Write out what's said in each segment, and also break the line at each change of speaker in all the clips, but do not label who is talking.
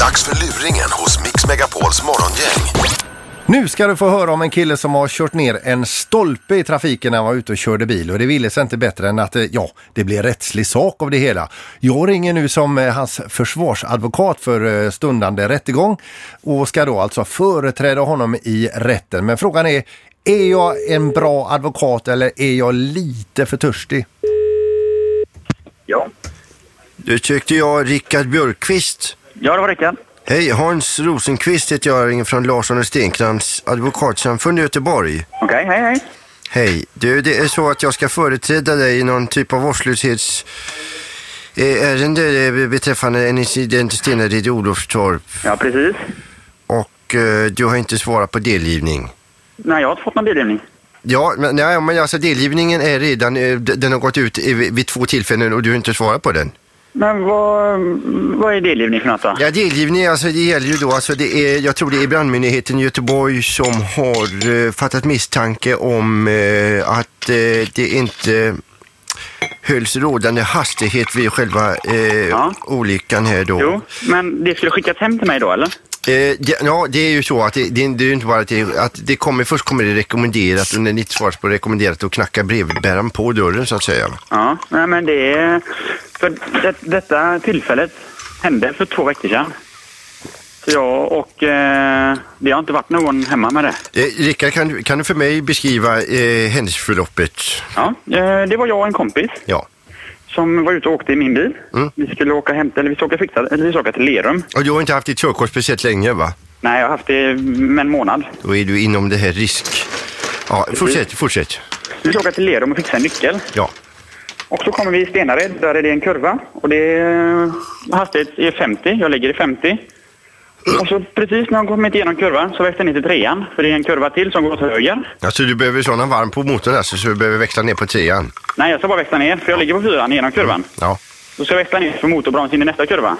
Dags för luringen hos Mix Megapols morgongäng.
Nu ska du få höra om en kille som har kört ner en stolpe i trafiken när han var ute och körde bil och det ville sig inte bättre än att eh, ja, det blev rättslig sak av det hela. Jag ringer nu som eh, hans försvarsadvokat för eh, stundande rättegång och ska då alltså företräda honom i rätten. Men frågan är, är jag en bra advokat eller är jag lite för törstig?
Ja.
Du tyckte jag Rickard Björkqvist.
Ja, det var Rickard.
Hej, Hans Rosenqvist heter jag, ringer från Larsson och Stenkrans advokatsamfund i Göteborg.
Okej, hej, hej.
Hej, du det är så att jag ska företräda dig i någon typ av vårdslöshets eh, ärende eh, beträffande en incident i Stenared i Olofstorp
Ja, precis.
och eh, du har inte svarat på delgivning.
Nej, jag har inte fått någon bildelning.
Ja, men, nej, men alltså delgivningen är redan, eh, d- den har gått ut i- vid två tillfällen och du har inte svarat på den.
Men vad, vad är delgivning för något då?
Ja, delgivning, alltså det gäller ju då, alltså det är, jag tror det är brandmyndigheten i Göteborg som har eh, fattat misstanke om eh, att eh, det inte hölls rådande hastighet vid själva eh,
Ja.
olyckan här då.
Jo, men det skulle skickas hem till mig då, eller?
Eh, det- ja, det är ju så att det, det, det är ju inte bara att det, att det kommer, först kommer det rekommenderat och när det inte svaras på rekommenderat då knackar brevbäraren på dörren så att säga.
Ja, nej men det är... För det, detta tillfället hände för två veckor sedan. Så jag och... Eh, det har inte varit någon hemma med det.
Eh, Rickard, kan, du- kan du för mig beskriva eh, händelseförloppet?
Ja, eh, det var jag och en kompis
Ja.
som var ute och åkte i min bil.
Mm.
Vi skulle åka hem, eller vi skulle åka, fixa, eller vi skulle åka till Lerum.
Och du har inte haft ditt körkort speciellt länge va?
Nej, jag har haft det med en månad.
Då är du inom det här risk... Ja, fortsätt, fortsätt.
Vi skulle åka till Lerum och fixa en nyckel.
Ja.
Och så kommer vi i Stenared, där är det en kurva. Och det är, eh, hastighet är 50, jag ligger i 50. Och så precis när jag kommit igenom kurvan så växte den till trean, för det är en kurva till som går åt höger.
Alltså du behöver sådana varm på motorn alltså, så du behöver växla ner på trean.
Nej, jag ska bara växla ner, för jag ligger på fyran genom kurvan.
Ja.
Då ska jag växla ner för motorbroms in i nästa kurva.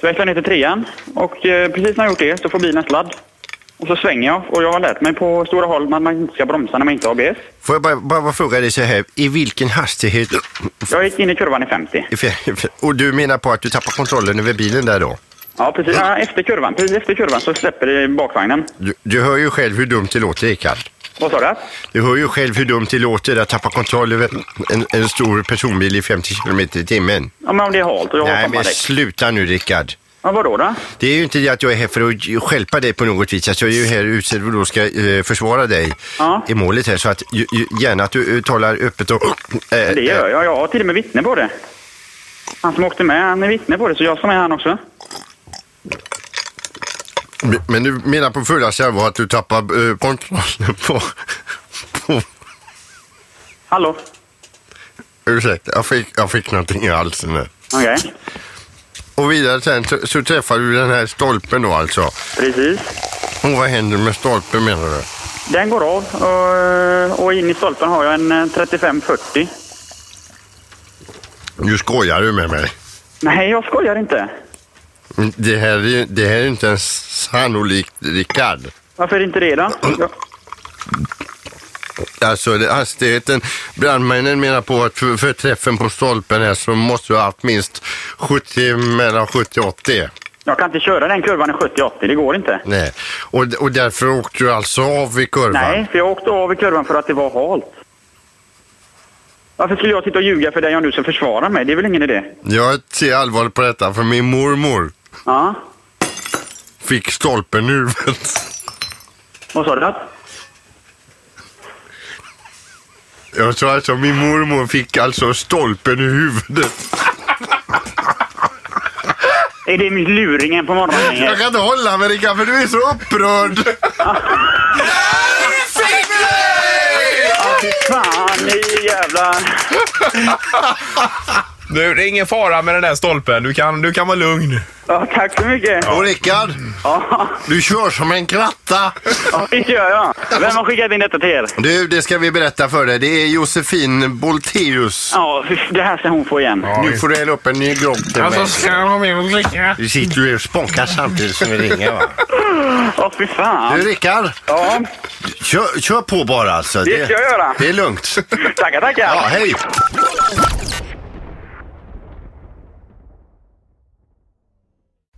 Så växlar jag ner till trean och eh, precis när jag gjort det så får bilen sladd. Och så svänger jag och jag har lärt mig på stora håll att man inte ska bromsa när man inte har ABS.
Får jag bara, bara fråga dig så här, i vilken hastighet...
Jag gick in i kurvan i 50.
Och du menar på att du tappar kontrollen över bilen där då?
Ja, precis. Ja, efter kurvan. Precis efter kurvan så släpper det bakvagnen.
Du, du hör ju själv hur dumt det låter, Rickard.
Vad sa du?
Du hör ju själv hur dumt det låter att tappa kontroll över en, en stor personbil i 50 km i timmen.
Ja, men om det är halt och jag har
Nej, men
sommardäck.
sluta nu, Rickard.
Ja, vadå då?
Det är ju inte det att jag är här för att stjälpa dig på något vis. Alltså, jag är ju här utsedd och då ska eh, försvara dig
Ja.
i målet här. Så att, ju, ju, gärna att du eh, talar öppet och... eh,
Det
eh,
gör jag. Jag har till och med vittne på det. Han som åkte med, han är vittne på det, så jag som är han också.
eh, Men du menar på fullaste allvar att du tappar eh, kontrollen på... på
Hallå?
ursäkta, jag fick, jag fick någonting i halsen nu.
Okej.
Och vidare sen så, så träffar du den här stolpen då alltså.
Precis.
Och vad händer med stolpen menar du?
Den går av och, och in i stolpen har jag en eh, 35-40.
Nu skojar du med mig.
Nej, jag skojar inte.
Det här är, ju- det här är inte ens sannolikt, Rickard.
Varför inte det då? Ja.
Alltså det, hastigheten, brandmännen menar på att för, för träffen på stolpen här så måste du ha haft minst 70, mellan 70 och 80.
Jag kan inte köra den kurvan i 70-80, det går inte.
Nej. Och, och därför åkte du alltså av i kurvan?
Nej, för jag åkte av i kurvan för att det var halt. Varför skulle jag sitta och ljuga för dig om du ska försvara mig? Det är väl ingen idé?
Jag ser allvarligt på detta för min mormor
Ja,
fick stolpen i huvudet.
vad sa du?
Jag sa alltså min mormor fick alltså stolpen i huvudet.
Är det luringen på morgonen?
Jag kan inte hålla mig Rickard för du är så upprörd.
Ja, fy fan, ni jävla...
Nu, det är ingen fara med den där stolpen. Du kan, du kan vara lugn.
Ja, tack så mycket.
Och Rickard,
Ja,
du kör som en kratta.
ja, det gör jag. Vem har skickat in detta till er?
Du, det ska vi berätta för dig. Det är Josefin Bolteus.
Ja, fy, det här ska hon få igen.
Nu får du hälla upp en ny grogg till
Alltså,
mig.
han med och dricka?
Du sitter ju och spånkar samtidigt som vi ringer va?
Ja, fy
Du
fan.
Rickard,
Ja,
kör, kör på bara alltså.
Det ska jag göra.
Det är lugnt.
tackar,
Ja,
tackar.
hej.